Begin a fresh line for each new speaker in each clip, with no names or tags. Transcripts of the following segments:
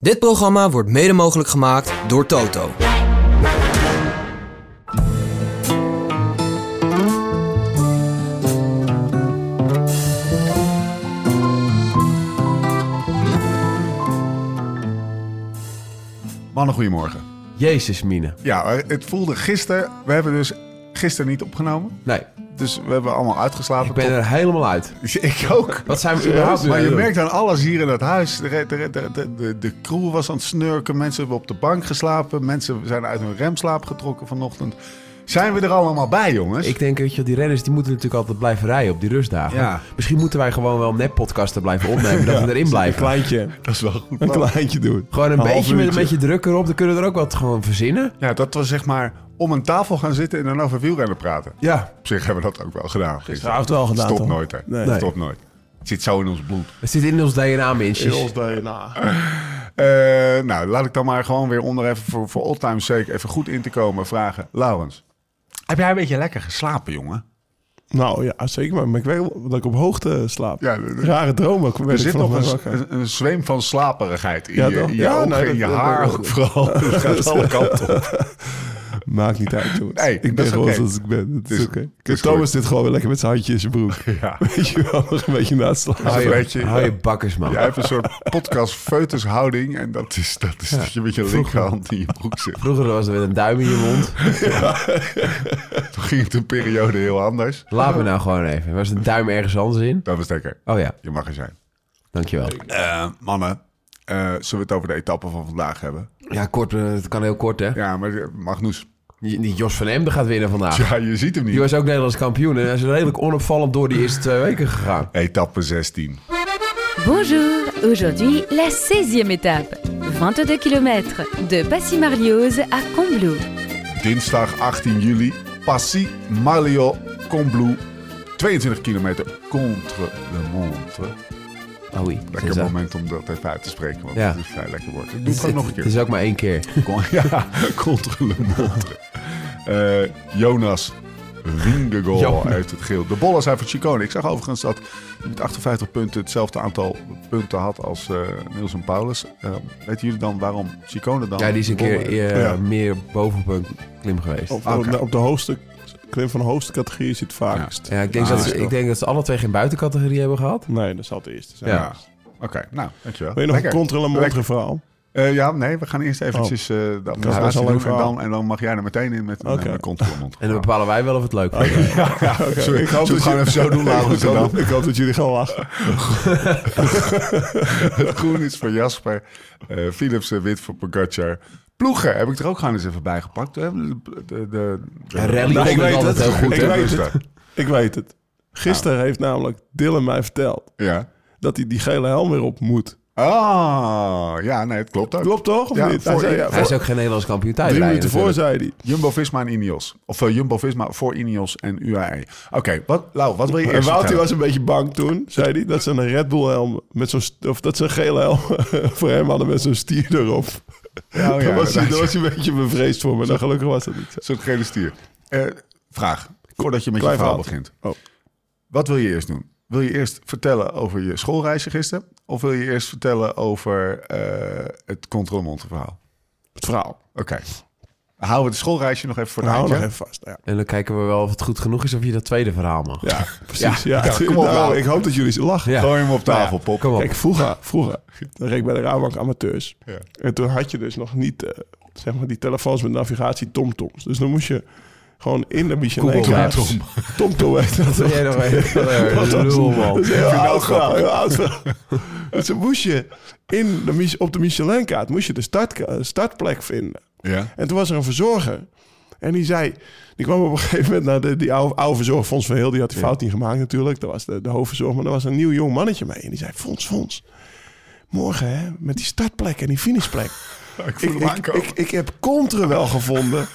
Dit programma wordt mede mogelijk gemaakt door Toto.
Mannen, goedemorgen.
Jezus, Mine.
Ja, het voelde gisteren... We hebben dus gisteren niet opgenomen.
Nee,
Dus we hebben allemaal uitgeslapen.
ik ben er helemaal uit.
tot- Ik ook.
Wat zijn we überhaupt nu
maar
aan
je
het doen?
merkt aan alles hier in dat huis. De, de, de, de, de, de crew was aan het snurken. Mensen hebben op de bank geslapen. Mensen zijn uit hun remslaap getrokken vanochtend. Zijn we er allemaal bij, jongens?
Ik denk, weet je, wel, die renners die moeten natuurlijk altijd blijven rijden op die rustdagen.
Ja.
Misschien moeten wij gewoon wel nep-podcasten blijven opnemen, dat we erin blijven. Nou.
kleintje.
Dat is wel een goed.
Een
plan.
kleintje doen.
Gewoon een
Een half
beetje met een
uurtje.
beetje druk erop, dan kunnen we er ook wat gewoon verzinnen.
Ja, dat we zeg maar om een tafel gaan zitten en dan over wielrennen praten.
Ja,
Op zich hebben we dat ook wel gedaan gisteren.
gisteravond wel gedaan.
Stop
toch?
nooit, hè.
Nee.
Nee.
Stop nooit. Het zit zo in ons bloed.
Het zit in ons DNA, mensen.
DNA.
Eh, nou, laat ik dan maar gewoon weer onder even voor, voor all time sake even goed in te komen vragen. Laurens, heb jij een beetje lekker geslapen, jongen?
Nou ja, zeker. Maar maar ik weet wel dat ik op hoogte slaap.
Ja, dat- dat-
Rare dromen. Ik
Er
werd
zit
ik
nog
vanochtend
een,
wakker.
een, een zweem van slaperigheid in
Ja,
je,
toch?
in je,
Ja,
ogen,
nee,
in
dat-
je
dat-
haar
dat-
ook vooral. Het gaat alle kanten op.
Maakt niet uit, jongens.
Nee, dat
ik ben
is
gewoon
oké.
zoals ik ben. Dat
is-
is oké.
het is
Thomas zit gewoon weer lekker met zijn handje in zijn broek.
Ja.
Weet je wel, nog een beetje naast slapen.
een
Hou
beetje-
je, hou je bakkers, man.
Jij hebt een soort podcast-feutushouding en dat is, dat is dat je met je linkerhand in je broek zit.
Vroeger was er met een duim in je mond.
Toen ging het een periode heel anders.
Laat me nou gewoon even. Was een duim ergens anders in?
Dat was lekker.
Oh ja,
Je mag er zijn.
dankjewel.
Eh, mannen, eh, zullen we het over de etappe van vandaag hebben?
Ja, kort, eh, het kan heel kort, hè?
Ja, maar eh, Magnus,
Die die Jos van Emden gaat winnen vandaag.
ja, je ziet hem niet.
Die was ook Nederlands kampioen en hij is redelijk onopvallend door die eerste twee weken gegaan.
Etappe 16.
Bonjour, aujourd'hui la 16e étape, 22 km de Passy-Marliose à Combloux.
Dinsdag 18 juli. Passy Malio Combloux. 22 kilometer contre le montre.
Oh, oui.
Lekker moment om dat even uit te spreken, want
Ja.
het is vrij lekker woord. Ik doe het gewoon nog een
Het
keer.
is ook maar één keer.
Con- ja, contre le montre. Eh, Jonas Wingegoal
Jonas.
heeft het geel. De bollen zijn voor Chicone. Ik zag overigens dat hij met 58 punten hetzelfde aantal punten had als eh Nielsen Paulus. Eh weten jullie dan waarom Chicone dan...
Ja, die is een
de bollen
keer
heeft?
eh,
Ja. Oh.
meer boven op een klim geweest.
Op,
Oké.
op, op de hoogste, klim van de hoogste categorie zit het vaakst.
Ja, ik denk,
Ah,
dat ze,
zo.
ik denk dat ze alle twee geen buitencategorie hebben gehad.
Nee, dat zal het eerste zijn.
Ja.
Ja. Oké, nou, dankjewel.
Wil je nog
Lekker.
een controle
Lekker.
montre verhaal?
Eh, ja, nee, we gaan eerst eventjes eh de
dat is
administratie
al een
doen. En
verhaal.
dan, en dan mag jij er meteen in met een,
Oké.
eh, een controlemond.
En dan bepalen wij wel of het leuk was.
Oké, Sorry, ik hoop
dat
het gewoon
je-
even zo doen,
ik,
Laurens. en
hoop,
dan.
ik hoop dat jullie gaan lachen.
Het groen is voor Jasper. eh Philips eh, wit voor Pogacar. Ploegen heb ik er ook gewoon eens even bij gepakt. hè. De, de, de,
Ja, rally
Nou,
vond ik altijd heel goed,
Ik
hè.
weet
Ik
het.
Ik weet het. Gisteren heeft namelijk Dylan mij verteld
Ja.
dat hij die gele helm weer op moet.
Ah, ja, nee, het klopt ook.
Klopt toch? Of
Ja,
niet?
voor-
zei, ja,
Hij
voor-
is ook geen Nederlands kampioen
drie
tijdrijder.
minuten voor
natuurlijk.
zei hij.
Jumbo-Visma en Ineos. Of Jumbo-Visma voor Ineos en UAE. Oké, wat, Lau, wat wil je
En
eerst
Wouter
vertellen?
was een beetje bang toen, zei hij, dat ze een Red Bull helm met zo'n st- of dat ze een gele helm voor hem hadden met zo'n stier erop.
ja,
daar, was hij,
inderdaad.
daar was hij een beetje bevreesd voor, maar dan gelukkig was dat niet zo.
Een soort gele stier. Eh, vraag, voordat je met
Klein
je verhaal
verhaal.
begint.
Oh.
Wat wil je eerst doen? Wil je eerst vertellen over je schoolreisje gisteren? Of wil je eerst vertellen over eh, het controlemonte verhaal?
Het verhaal.
Oké. Houden we het schoolreisje nog even voor de
Nou, nog
eindje?
even vast. Ja,
En dan kijken we wel of het goed genoeg is of je dat tweede verhaal mag.
ja precies.
Ja,
Ja,
ja, kom op,
Nou,
Wouter.
ik hoop dat jullie ze lachen.
Ja.
Gooi hem op tafel, pop.
Kom op.
Kijk, vroeger, vroeger, dan reed ik bij de Rabank Amateurs.
Ja.
En toen had je dus nog niet, eh, zeg maar, die telefoons met navigatie tomtoms. Dus dan moest je gewoon in de Michelin
Google Maps.
Tomtom. Tomtom heet dat.
Wil jij nog
Wat
even?
dat-
Lul,
Dat
man.
is een heel
vind ik wel
oud verhaal,
grappig.
heel oud verhaal. Dus dan moest je in de, Mich- op de Michelin-kaart moest je de start, eh, startplek vinden.
Ja.
En toen was er een verzorger. En die zei, die kwam op een gegeven moment naar de, die oude, oude verzorger, Fons Verheel, die had die fout niet gemaakt natuurlijk. Dat was de, de hoofdverzorger, maar er was een nieuw jong mannetje mee. En die zei, Fons, Fons, morgen hè, met die startplek en die finishplek.
Ik voel
Ik,
hem
ik,
aankomen.
ik, ik heb Contre wel gevonden,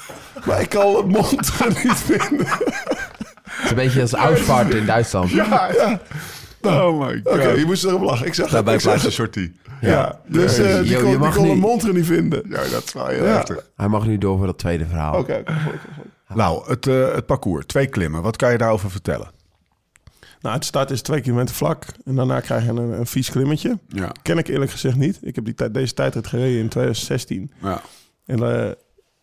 maar ik kan het monster niet vinden.
Het is een beetje als Ausfahrt in Duitsland.
ja, ja. Oh my god.
Oké, je moest erop lachen. Ik zag het,
Daarbij
ik zag
blijft een
het.
sortie.
Ja, dus
Ja,
eh,
je-
die
je
kon, die
mag
kon de
niet.
montre niet vinden.
Ja, dat is wel heel
Ja.
heftig.
Hij mag nu door voor dat tweede verhaal.
Oké, oké, gelukkig, gelukkig.
Nou, het, eh, het parcours. Twee klimmen. Wat kan je daarover vertellen?
Nou, het start is twee kilometer vlak. En daarna krijg je een, een vies klimmetje.
Ja.
Ken ik eerlijk gezegd niet. Ik heb die tijd deze tijdrit gereden in 2016.
ja.
En de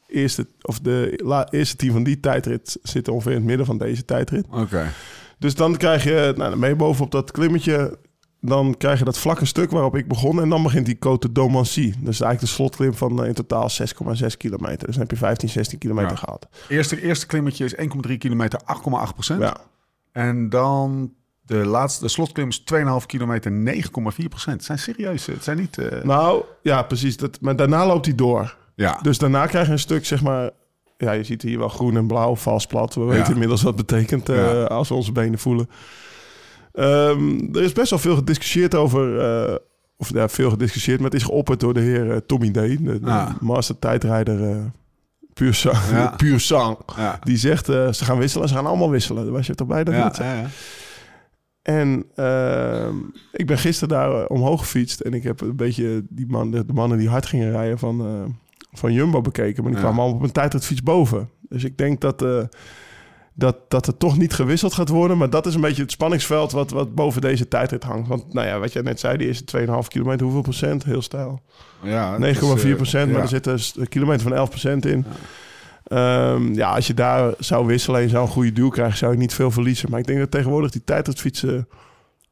eerste, of de la, eerste team van die tijdrit zit ongeveer in het midden van deze tijdrit.
Oké.
Dus dan krijg je, nou, dan ben je bovenop dat klimmetje. Dan krijg je dat vlakke stuk waarop ik begon. En dan begint die Côte de Domancy. Dat is eigenlijk de slotklim van eh, in totaal 6,6 kilometer. Dus dan heb je 15, 16 kilometer
Ja.
gehad.
Eerste, eerste klimmetje is 1,3 kilometer, 8,8 procent.
Ja.
En dan de laatste, de slotklim is 2,5 kilometer, 9,4 procent. Het zijn serieus, het zijn niet... eh,
Nou, ja, precies. Dat, maar daarna loopt hij door.
ja.
Dus daarna krijg je een stuk, zeg maar... Ja, je ziet hier wel groen en blauw, vals plat. We weten inmiddels wat het betekent eh,
Ja.
als we onze benen voelen. Ehm, er is best wel veel gediscussieerd over... eh, of ja, veel gediscussieerd, maar het is geopperd door de heer eh, Tommy D. De, de
Ja.
master tijdrijder eh puur sang.
Ah. Ja.
puur sang.
Ja.
Die zegt, eh, ze gaan wisselen, ze gaan allemaal wisselen. Daar was je toch bij dat eh,
Ja,
niet?
ja, ja.
En ehm, ik ben gisteren daar eh, omhoog gefietst. En ik heb een beetje die man, de, de mannen die hard gingen rijden van, eh, van Jumbo bekeken. Maar die
Ja.
kwamen allemaal op een tijdritfiets boven. Dus ik denk dat, eh, dat, dat er toch niet gewisseld gaat worden. Maar dat is een beetje het spanningsveld wat, wat boven deze tijdrit hangt. Want nou ja, wat jij net zei, die eerste 2,5 kilometer, hoeveel procent? Heel stijl. 9,4
Ja, het is, eh,
procent, maar
ja.
er zit een s- een kilometer van 11 procent in. Ehm, ja, als je daar zou wisselen en je zou een goede duw krijgen, zou je niet veel verliezen. Maar ik denk dat tegenwoordig die tijdritfietsen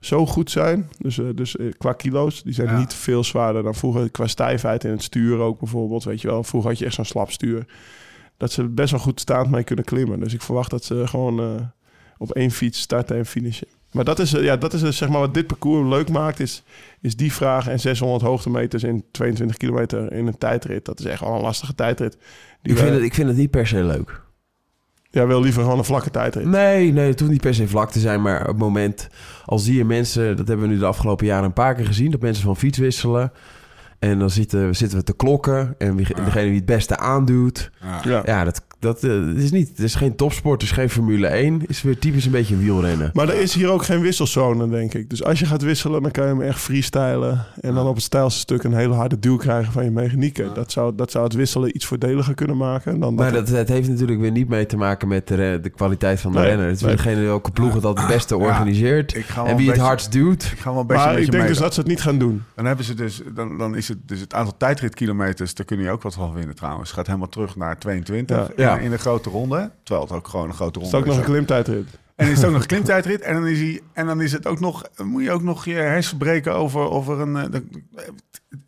zo goed zijn. Dus, eh, dus eh, qua kilo's, die zijn
Ja.
niet veel zwaarder dan vroeger. Qua stijfheid in het stuur ook bijvoorbeeld, weet je wel. Vroeger had je echt zo'n slap stuur. Dat ze er best wel goed staand mee kunnen klimmen. Dus ik verwacht dat ze gewoon eh, op één fiets starten en finishen. Maar dat is, eh, ja, dat is eh, zeg maar wat dit parcours leuk maakt, is, is die vraag. En 600 hoogtemeters in 22 kilometer in een tijdrit. Dat is echt wel een lastige tijdrit. Die
Ik vind,
wij-
het, ik vind het niet per se leuk.
Jij wil liever gewoon een vlakke tijdrit.
Nee, nee, het hoeft niet per se vlak te zijn. Maar op het moment, al zie je mensen... Dat hebben we nu de afgelopen jaren een paar keer gezien. Dat mensen van fiets wisselen. En dan zitten, zitten we te klokken. En wie,
Ja.
degene die het beste aanduwt.
Ja.
Ja.
Ja, dat, dat eh, het is niet. Het is geen topsport, het is geen Formule 1. Het is weer typisch een beetje wielrennen.
Maar er is hier ook geen wisselzone, denk ik. Dus als je gaat wisselen, dan kan je hem echt freestylen. En
Ah.
dan op het stijlste stuk een hele harde duw krijgen van je mechanieken. Dat, zou, dat zou het wisselen iets voordeliger kunnen maken. Dan
Maar dat, dat heeft natuurlijk weer niet mee te maken met de, re- de kwaliteit van de
Nee,
renner. Het is weer
nee.
degene die ook ploeg het al het beste organiseert.
Ik ga wel
en wie
een
het
beetje-
hardst duwt.
Ik ga wel een beetje
maar
een
ik
beetje
denk
mee.
dus dat ze het niet gaan doen.
Dan hebben ze dus, dan, dan is het dus het aantal tijdritkilometers, daar kun je ook wat van winnen trouwens. Gaat helemaal terug naar 22
Ja.
in-
Ja.
In, een grote ronde. Terwijl het ook gewoon een grote
Het is
ronde
ook nog een
is.
klimtijdrit.
En is het ook nog een klimtijdrit. En dan is, hij, en dan is het ook nog, moet je ook nog je hersen breken over, over een. eh, de-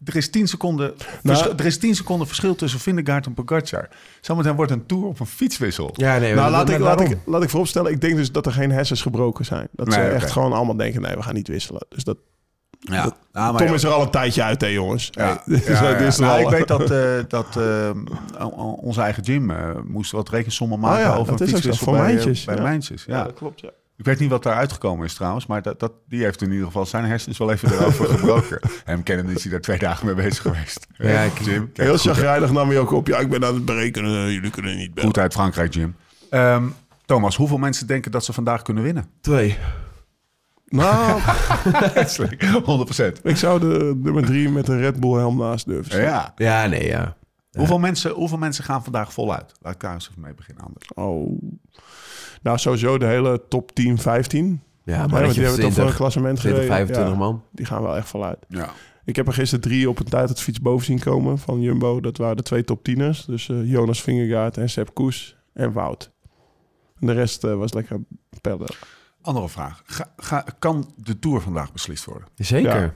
Er is 10 seconden,
Nou-
verschil- er is 10 seconden verschil tussen Vindegaard en Pogacar. Zometeen wordt een tour op een fietswissel.
Ja, nee,
nou,
maar
laat
dat-
ik,
maar
laat, ik,
daarom.
laat ik vooropstellen, ik denk dus dat er geen hersens gebroken zijn. Dat ze
Nee, oké.
echt gewoon allemaal denken, nee, we gaan niet wisselen. Dus dat,
Ja,
Tom is er al een tijdje uit, hè, jongens.
Ja,
Hey, dit is-
ja,
dit is
ja.
er
Nou,
al-
ik weet dat, eh, dat eh, o- o- onze eigen gym eh, moest wat rekensommen maken
Ah ja,
over
dat
een
is ook
fietswissel
zo, voor
bij, eh,
Mijntjes,
bij
ja.
Mijntjes, ja.
Ja, dat klopt, ja.
Ik weet niet wat daar uitgekomen is trouwens, maar dat, dat, die heeft in ieder geval zijn hersens wel even erover gebroken. Hem kennen is hij daar twee dagen mee bezig geweest. Eh,
Ja, ik-
Jim, kijk,
Heel
goed, hè.
chagrijnig nam hij ook op. Ja, ik ben aan het berekenen, eh, jullie kunnen niet bellen.
goed uit Frankrijk, Jim. Ehm, Thomas, hoeveel mensen denken dat ze vandaag kunnen winnen?
Twee.
Nou,
100 procent.
ik zou de nummer drie met een Red Bull helm naast durven zetten.
Ja.
Ja, nee, ja.
Hoeveel, mensen, hoeveel mensen gaan vandaag voluit? Laat ik daar eens even mee beginnen, Anders.
Oh. Nou, sowieso de hele top 10, 15.
Ja,
Maar
maar dat
die
je
hebben toch
20,
voor een klassement
20,
gereden.
25
Ja,
man.
Die gaan wel echt voluit.
Ja.
Ik heb er gisteren drie op een tijd het fiets boven zien komen van Jumbo. Dat waren de twee top tieners. Dus eh, Jonas Vingegaard en Sepp Koes en Wout. En de rest eh, was lekker pellen.
Andere vraag. Ga, ga, kan de Tour vandaag beslist worden?
Zeker,
Ja?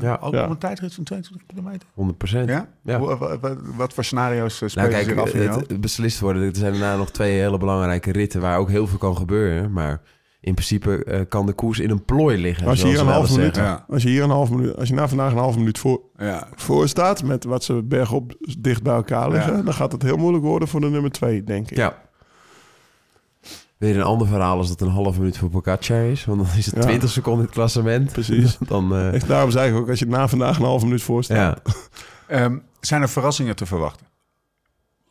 Ja.
Ook
Ja.
op een tijdrit van 22 kilometer?
100%.
Ja?
Ja.
Hoe- wa- wa- wat voor scenario's eh,
Nou
spelen
kijk,
zich af in je
het,
hoofd?
het beslist worden. Er zijn daarna nog twee hele belangrijke ritten waar ook heel veel kan gebeuren. Maar in principe eh, kan de koers in een plooi liggen.
Als je
zoals
hier een
we wel
half
eens
minuut-
zeggen.
Ja.
Als je hier een half minuut, als je na vandaag een half minuut voor,
Ja.
voor staat met wat ze bergop dicht bij elkaar liggen,
Ja.
dan gaat het heel moeilijk worden voor de nummer twee, denk ik.
Ja. Weer een ander verhaal als dat een half minuut voor Pogacar is. Want dan is het
Ja.
20 seconden in het klassement.
Precies.
Dan, eh,
Echt, daarom zei ik ook, als je na vandaag een half minuut voor staat,
ja.
Ehm, zijn er verrassingen te verwachten?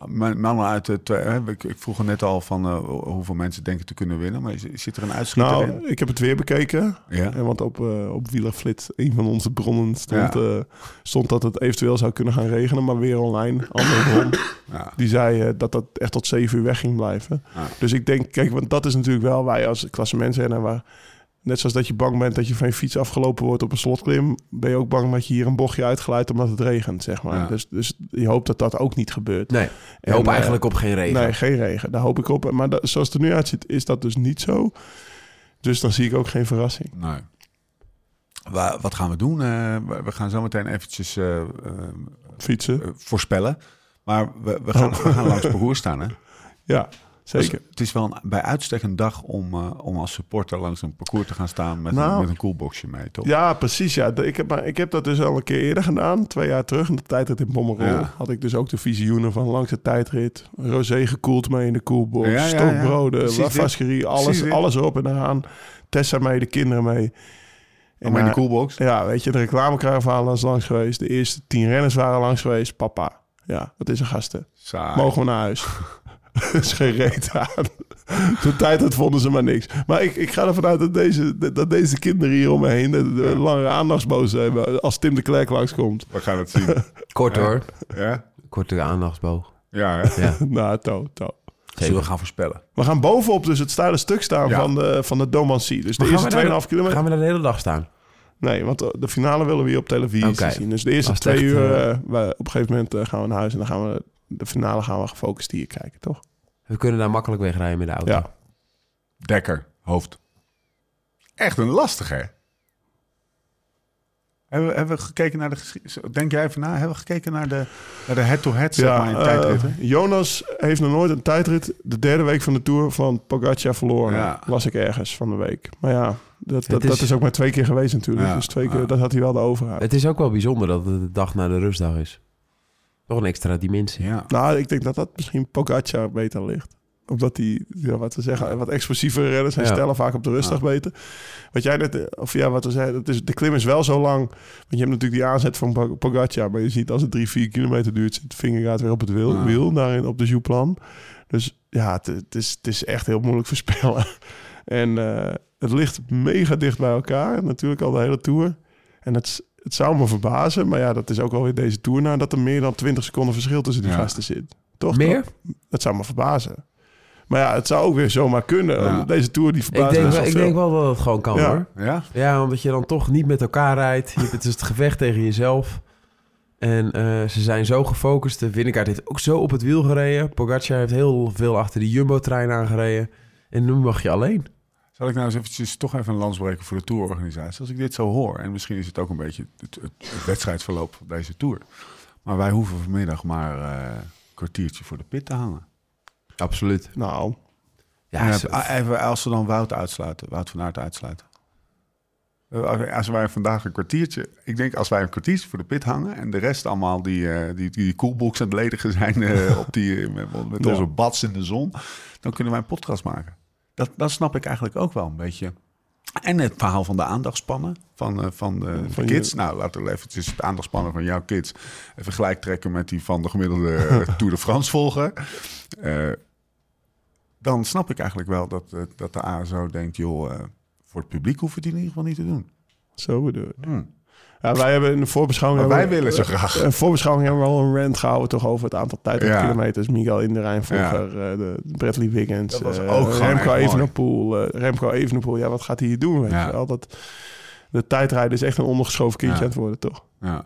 Mijn Mannen uit de twee, hè, ik, ik vroeg er net al van eh, hoeveel mensen denken te kunnen winnen, maar is- zit er een uitschieter in?
Nou, ik heb het weer bekeken.
Ja.
En want op, eh op Wielerflits, een van onze bronnen, stond,
Ja.
eh, stond dat het eventueel zou kunnen gaan regenen. Maar weer online, andere bron,
Ja.
die zei eh, dat dat echt tot zeven uur weg ging blijven.
Ja.
Dus ik denk, kijk, want dat is natuurlijk wel wij als klassementsrenner... Waar, Net zoals dat je bang bent dat je van je fiets afgelopen wordt op een slotklim, ben je ook bang dat je hier een bochtje uitglijdt omdat het regent, zeg maar.
Ja.
Dus, dus je hoopt dat dat ook niet gebeurt.
Nee, ik
En,
hoop
eh,
eigenlijk op geen regen.
Nee, geen regen. Daar hoop ik op. Maar dat- zoals het er nu uitziet, is dat dus niet zo. Dus dan zie ik ook geen verrassing.
Nee. Wa- Wat gaan we doen? Eh, we- we gaan zo meteen eventjes eh, eh,
Fietsen.
eh, voorspellen. Maar we, we, gaan, we gaan langs parcours staan, hè?
Ja,
Dus
zeker.
het is wel een, bij uitstek een dag om, eh, om als supporter langs een parcours te gaan staan met, een,
Nou.
met een coolboxje mee, toch?
Ja, precies. Ja. Ik, heb, maar ik heb dat dus al een keer eerder gedaan. Twee jaar terug, in de tijdrit in Bommerol.
Ja.
Had ik dus ook de visioenen van langs de tijdrit. Rosé gekoeld mee in de koelbox.
Ja, ja, ja.
Stokbroden,
Precies dit.
wafasserie.
Precies
Alles,
dit.
alles erop en eraan. Tessa mee, de kinderen mee.
Oh, maar in de
na-
coolbox.
Ja, weet je, de reclamekaravaan was langs geweest. De eerste tien renners waren langs geweest. Papa. Ja, dat is een gasten.
Ah,
Saai.
Mogen we naar huis? Er is geen reet aan. Toen tijd dat vonden ze maar niks. Maar ik, ik ga ervan uit dat deze, dat deze kinderen hier om me heen de, de langere aandachtsboos hebben als Tim de Klerk langskomt.
We gaan het zien.
Kort
Ja.
hoor.
ja?
Korte aandachtsboog.
Ja, hè?
Ja,
nou, to, to.
Zullen we
zeker.
gaan voorspellen?
We gaan bovenop dus het steile stuk staan
Ja.
van de, van de Domancy. Dus de
Maar gaan we daar-
eerste 2,5 kilometer.
Gaan we daar de hele dag staan?
Nee, want de finale willen we hier op televisie
Oké.
zien. Dus de eerste
Als het
twee
echt,
uur,
eh,
eh, we- op een gegeven moment eh, gaan we naar huis en dan gaan we de finale gaan we gefocust hier kijken, toch?
We kunnen daar makkelijk wegrijden met de auto.
Ja.
Dekker, hoofd. Echt een lastige, hè? Hebben we, hebben we gekeken naar de geschiedenis? Denk jij even na? Hebben we gekeken naar de naar de head-to-head, zeg maar, in
eh,
tijdritten?
Jonas heeft nog nooit een tijdrit de derde week van de Tour van Pogacar verloren.
Ja.
Las ik ergens van de week. Maar ja, dat, dat,
is-
dat is ook maar twee keer geweest natuurlijk.
Ja,
dus twee keer,
ja.
dat had hij wel de overheid.
Het is ook wel bijzonder dat het de dag na de rustdag is. Nog een extra dimensie.
Ja.
Nou, ik denk dat dat misschien Pogacar beter ligt. Omdat die, ja, wat we zeggen, wat explosievere renners zijn
Ja.
stellen vaak op de rustdag beter. Wat jij net, eh, of ja, wat we zeiden, het is, de klim is wel zo lang. Want je hebt natuurlijk die aanzet van Pog- Pogacar. Maar je ziet als het drie, vier kilometer duurt, zit Vingegaard weer op het wiel,
Ja.
wiel daarin op de Jouplan. Dus ja, het, het is, het is echt heel moeilijk voorspellen. En eh, het ligt mega dicht bij elkaar. Natuurlijk al de hele Tour. En het, s- het zou me verbazen, maar ja, dat is ook alweer deze Tour na... dat er meer dan 20 seconden verschil tussen die
Ja.
gasten zit. Toch?
Meer?
Dat zou me verbazen. Maar ja, het zou ook weer zomaar kunnen.
Ja.
want Deze Tour die
Ik
verbaast
denk,
best
wel,
wel
ik
veel.
denk wel dat het gewoon kan
Ja.
hoor.
Ja?
Ja, omdat je dan toch niet met elkaar rijdt. Je- dus Het is het gevecht tegen jezelf. En eh, ze zijn zo gefocust. De Winnekaart heeft ook zo op het wiel gereden. Pogacar heeft heel veel achter die Jumbo-trein aangereden. En nu mag je alleen.
Zal ik nou eens eventjes toch even een lans breken voor de tourorganisatie? Als ik dit zo hoor, en misschien is het ook een beetje het, het- het wedstrijdverloop van deze tour. Maar wij hoeven vanmiddag maar eh, een kwartiertje voor de pit te hangen.
Absoluut.
Nou,
Ja,
Ja, ah,
ze-
even als we dan Wout uitsluiten, Wout van Aert uitsluiten. Eh, Als wij vandaag een kwartiertje, ik denk als wij een kwartiertje voor de pit hangen en de rest allemaal die, eh, die, die coolbox aan het ledigen zijn eh, op die, met, met
Ja.
onze bats in de zon, dan kunnen wij een podcast maken. Dat, dat snap ik eigenlijk ook wel een beetje. En het verhaal van de aandachtspannen van, eh, van de, de
Van je-
kids. Nou, laten we eventjes het aandachtspannen van jouw kids eh, vergelijk trekken met die van de gemiddelde eh, Tour de France volger. Eh, dan snap ik eigenlijk wel dat, eh, dat de ASO denkt, joh, eh, voor het publiek hoeft het in ieder geval niet te doen.
zo bedoel ik.
Hmm.
Ja, wij hebben in de voorbeschouwing...
Maar wij
hebben-
willen ze graag.
Een voorbeschouwing hebben we al een rant gehouden toch over het aantal tijdritkilometers. Miguel Inderijn vroeger, eh, de Bradley Wiggins,
Dat was
eh,
ook gewoon echt
Remco
mooi.
Evenepoel. eh, Remco Evenepoel, ja, wat gaat hij hier doen? Weet
Ja.
je wel? Dat, de tijdrijden is echt een ondergeschoven kindje
Ja.
aan het worden, toch?
Ja,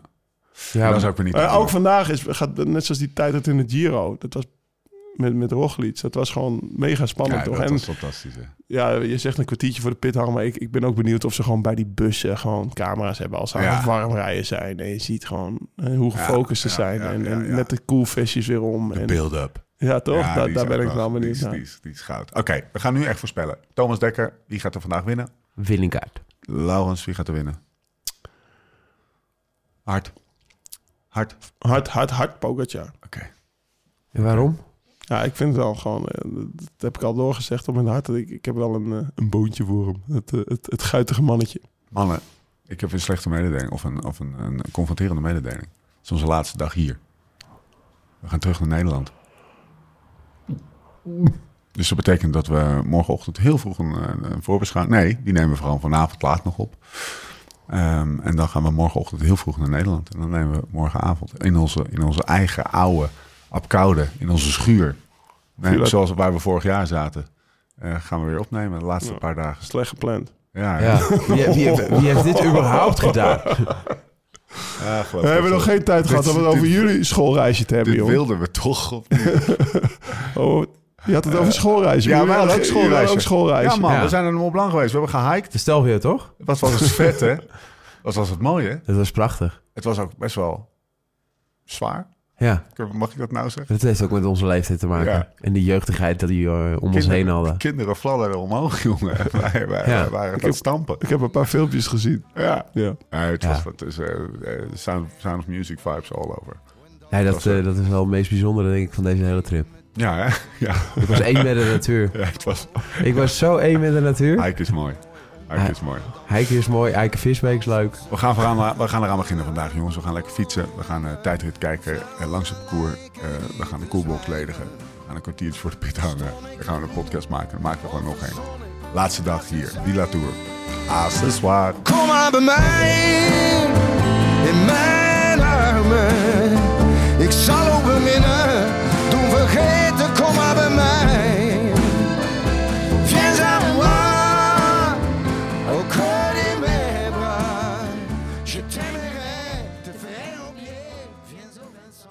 ja,
dat is ook weer niet.
Maar
te
ook vandaag is, gaat net zoals die tijdrit in het Giro. Dat was met, met Roglic. Dat was gewoon mega
doen.
spannend,
ja,
toch?
dat
En
was fantastisch. hè.
ja, je zegt een kwartiertje voor de pit hangen. Maar ik, ik ben ook benieuwd of ze gewoon bij die bussen gewoon camera's hebben. Als ze
Ja.
aan het warm rijden zijn. En je ziet gewoon eh, hoe
Ja,
gefocust ze
ja,
zijn.
ja,
en,
ja,
en
ja.
net de cool vestjes weer om.
De
En,
build-up.
ja, toch? Nou,
Ja,
daar
die
daar
is
ben
ook
ik
wel-
wel
die
benieuwd
is-
naar.
Die is, die is goud. Oké, we gaan nu echt voorspellen. Thomas Dekker, wie gaat er vandaag winnen?
Winnekaart.
Laurens, wie gaat er winnen? Hard. Hard. Oké.
Hard, hard, hard Pogacar.
En waarom?
Ja, ik vind het wel gewoon... eh, Dat heb ik al doorgezegd op mijn hart. dat Ik, ik heb wel een, eh, een boontje voor hem. Het, eh, het, het guitige mannetje.
Mannen, ik heb een slechte mededeling of een, of een, een confronterende mededeling. Het is onze laatste dag hier. We gaan terug naar Nederland. Dus dat betekent dat we morgenochtend heel vroeg een, eh, een voorbeschouwing... Nee, die nemen we vooral vanavond laat nog op. Ehm, en dan gaan we morgenochtend heel vroeg naar Nederland. En dan nemen we morgenavond in onze, in onze eigen oude apkoude, in onze schuur... Nee,
Tuurlijk.
zoals waar we vorig jaar zaten, eh, gaan we weer opnemen de laatste paar dagen.
Slecht gepland.
Ja, ja.
Ja. Wie, wie, wie heeft dit überhaupt gedaan?
Ja, geloof
We
ik
hebben
wel.
nog geen tijd
Dit-
gehad om het
dit-
over jullie schoolreisje te hebben,
Dit
joh.
wilden we toch. Op...
Oh, je had het over schoolreizen.
ja,
Jullie
wij hadden ook
jullie
schoolreizen.
ook schoolreizen.
man,
Ja.
we zijn er in Mont Blanc geweest. We hebben gehiked.
De stel weer, toch?
Wat was het vet, hè? Wat was het mooi, hè?
Dat was prachtig.
Het was ook best wel zwaar.
Ja,
Mag ik dat nou zeggen?
dat heeft ook met onze leeftijd te maken.
Ja.
En de jeugdigheid die we eh, om ons
Kinderen-
heen hadden.
Kinderen fladderden omhoog, jongen. wij, wij, wij waren aan
heb-
het stampen.
Ik heb een paar filmpjes gezien.
Ja.
Ja.
Ja, het
Ja.
was wat is, eh, eh, sound, sound of Music vibes all over.
Nee, dat,
Dat was, eh,
eh, dat is wel het meest bijzondere, denk ik, van deze hele trip.
Ja, hè? Ja,
Ik was één met de natuur.
ja, het was...
Ik was zo één met de natuur.
Hike is mooi. Hike
Ja.
is mooi.
Hiken is mooi, Eiken Visbeek is leuk.
We gaan, vooraan, we gaan eraan beginnen vandaag, jongens. We gaan lekker fietsen. We gaan eh, tijdrit kijken eh, langs het parcours. Eh, we gaan de koelbox ledigen. We gaan een kwartiertje voor de pit hangen. Dan gaan we een podcast maken. Dan maken we gewoon nog één. Laatste dag hier. Villa Tour. Accessoire.
Kom maar bij mij in mijn armen. Ik zal ook beminnen, doen vergeten, kom maar bij mij. Viens à moi, au cœur de mes bras. Je t'aimerai, te faire oublier, viens au Vincent.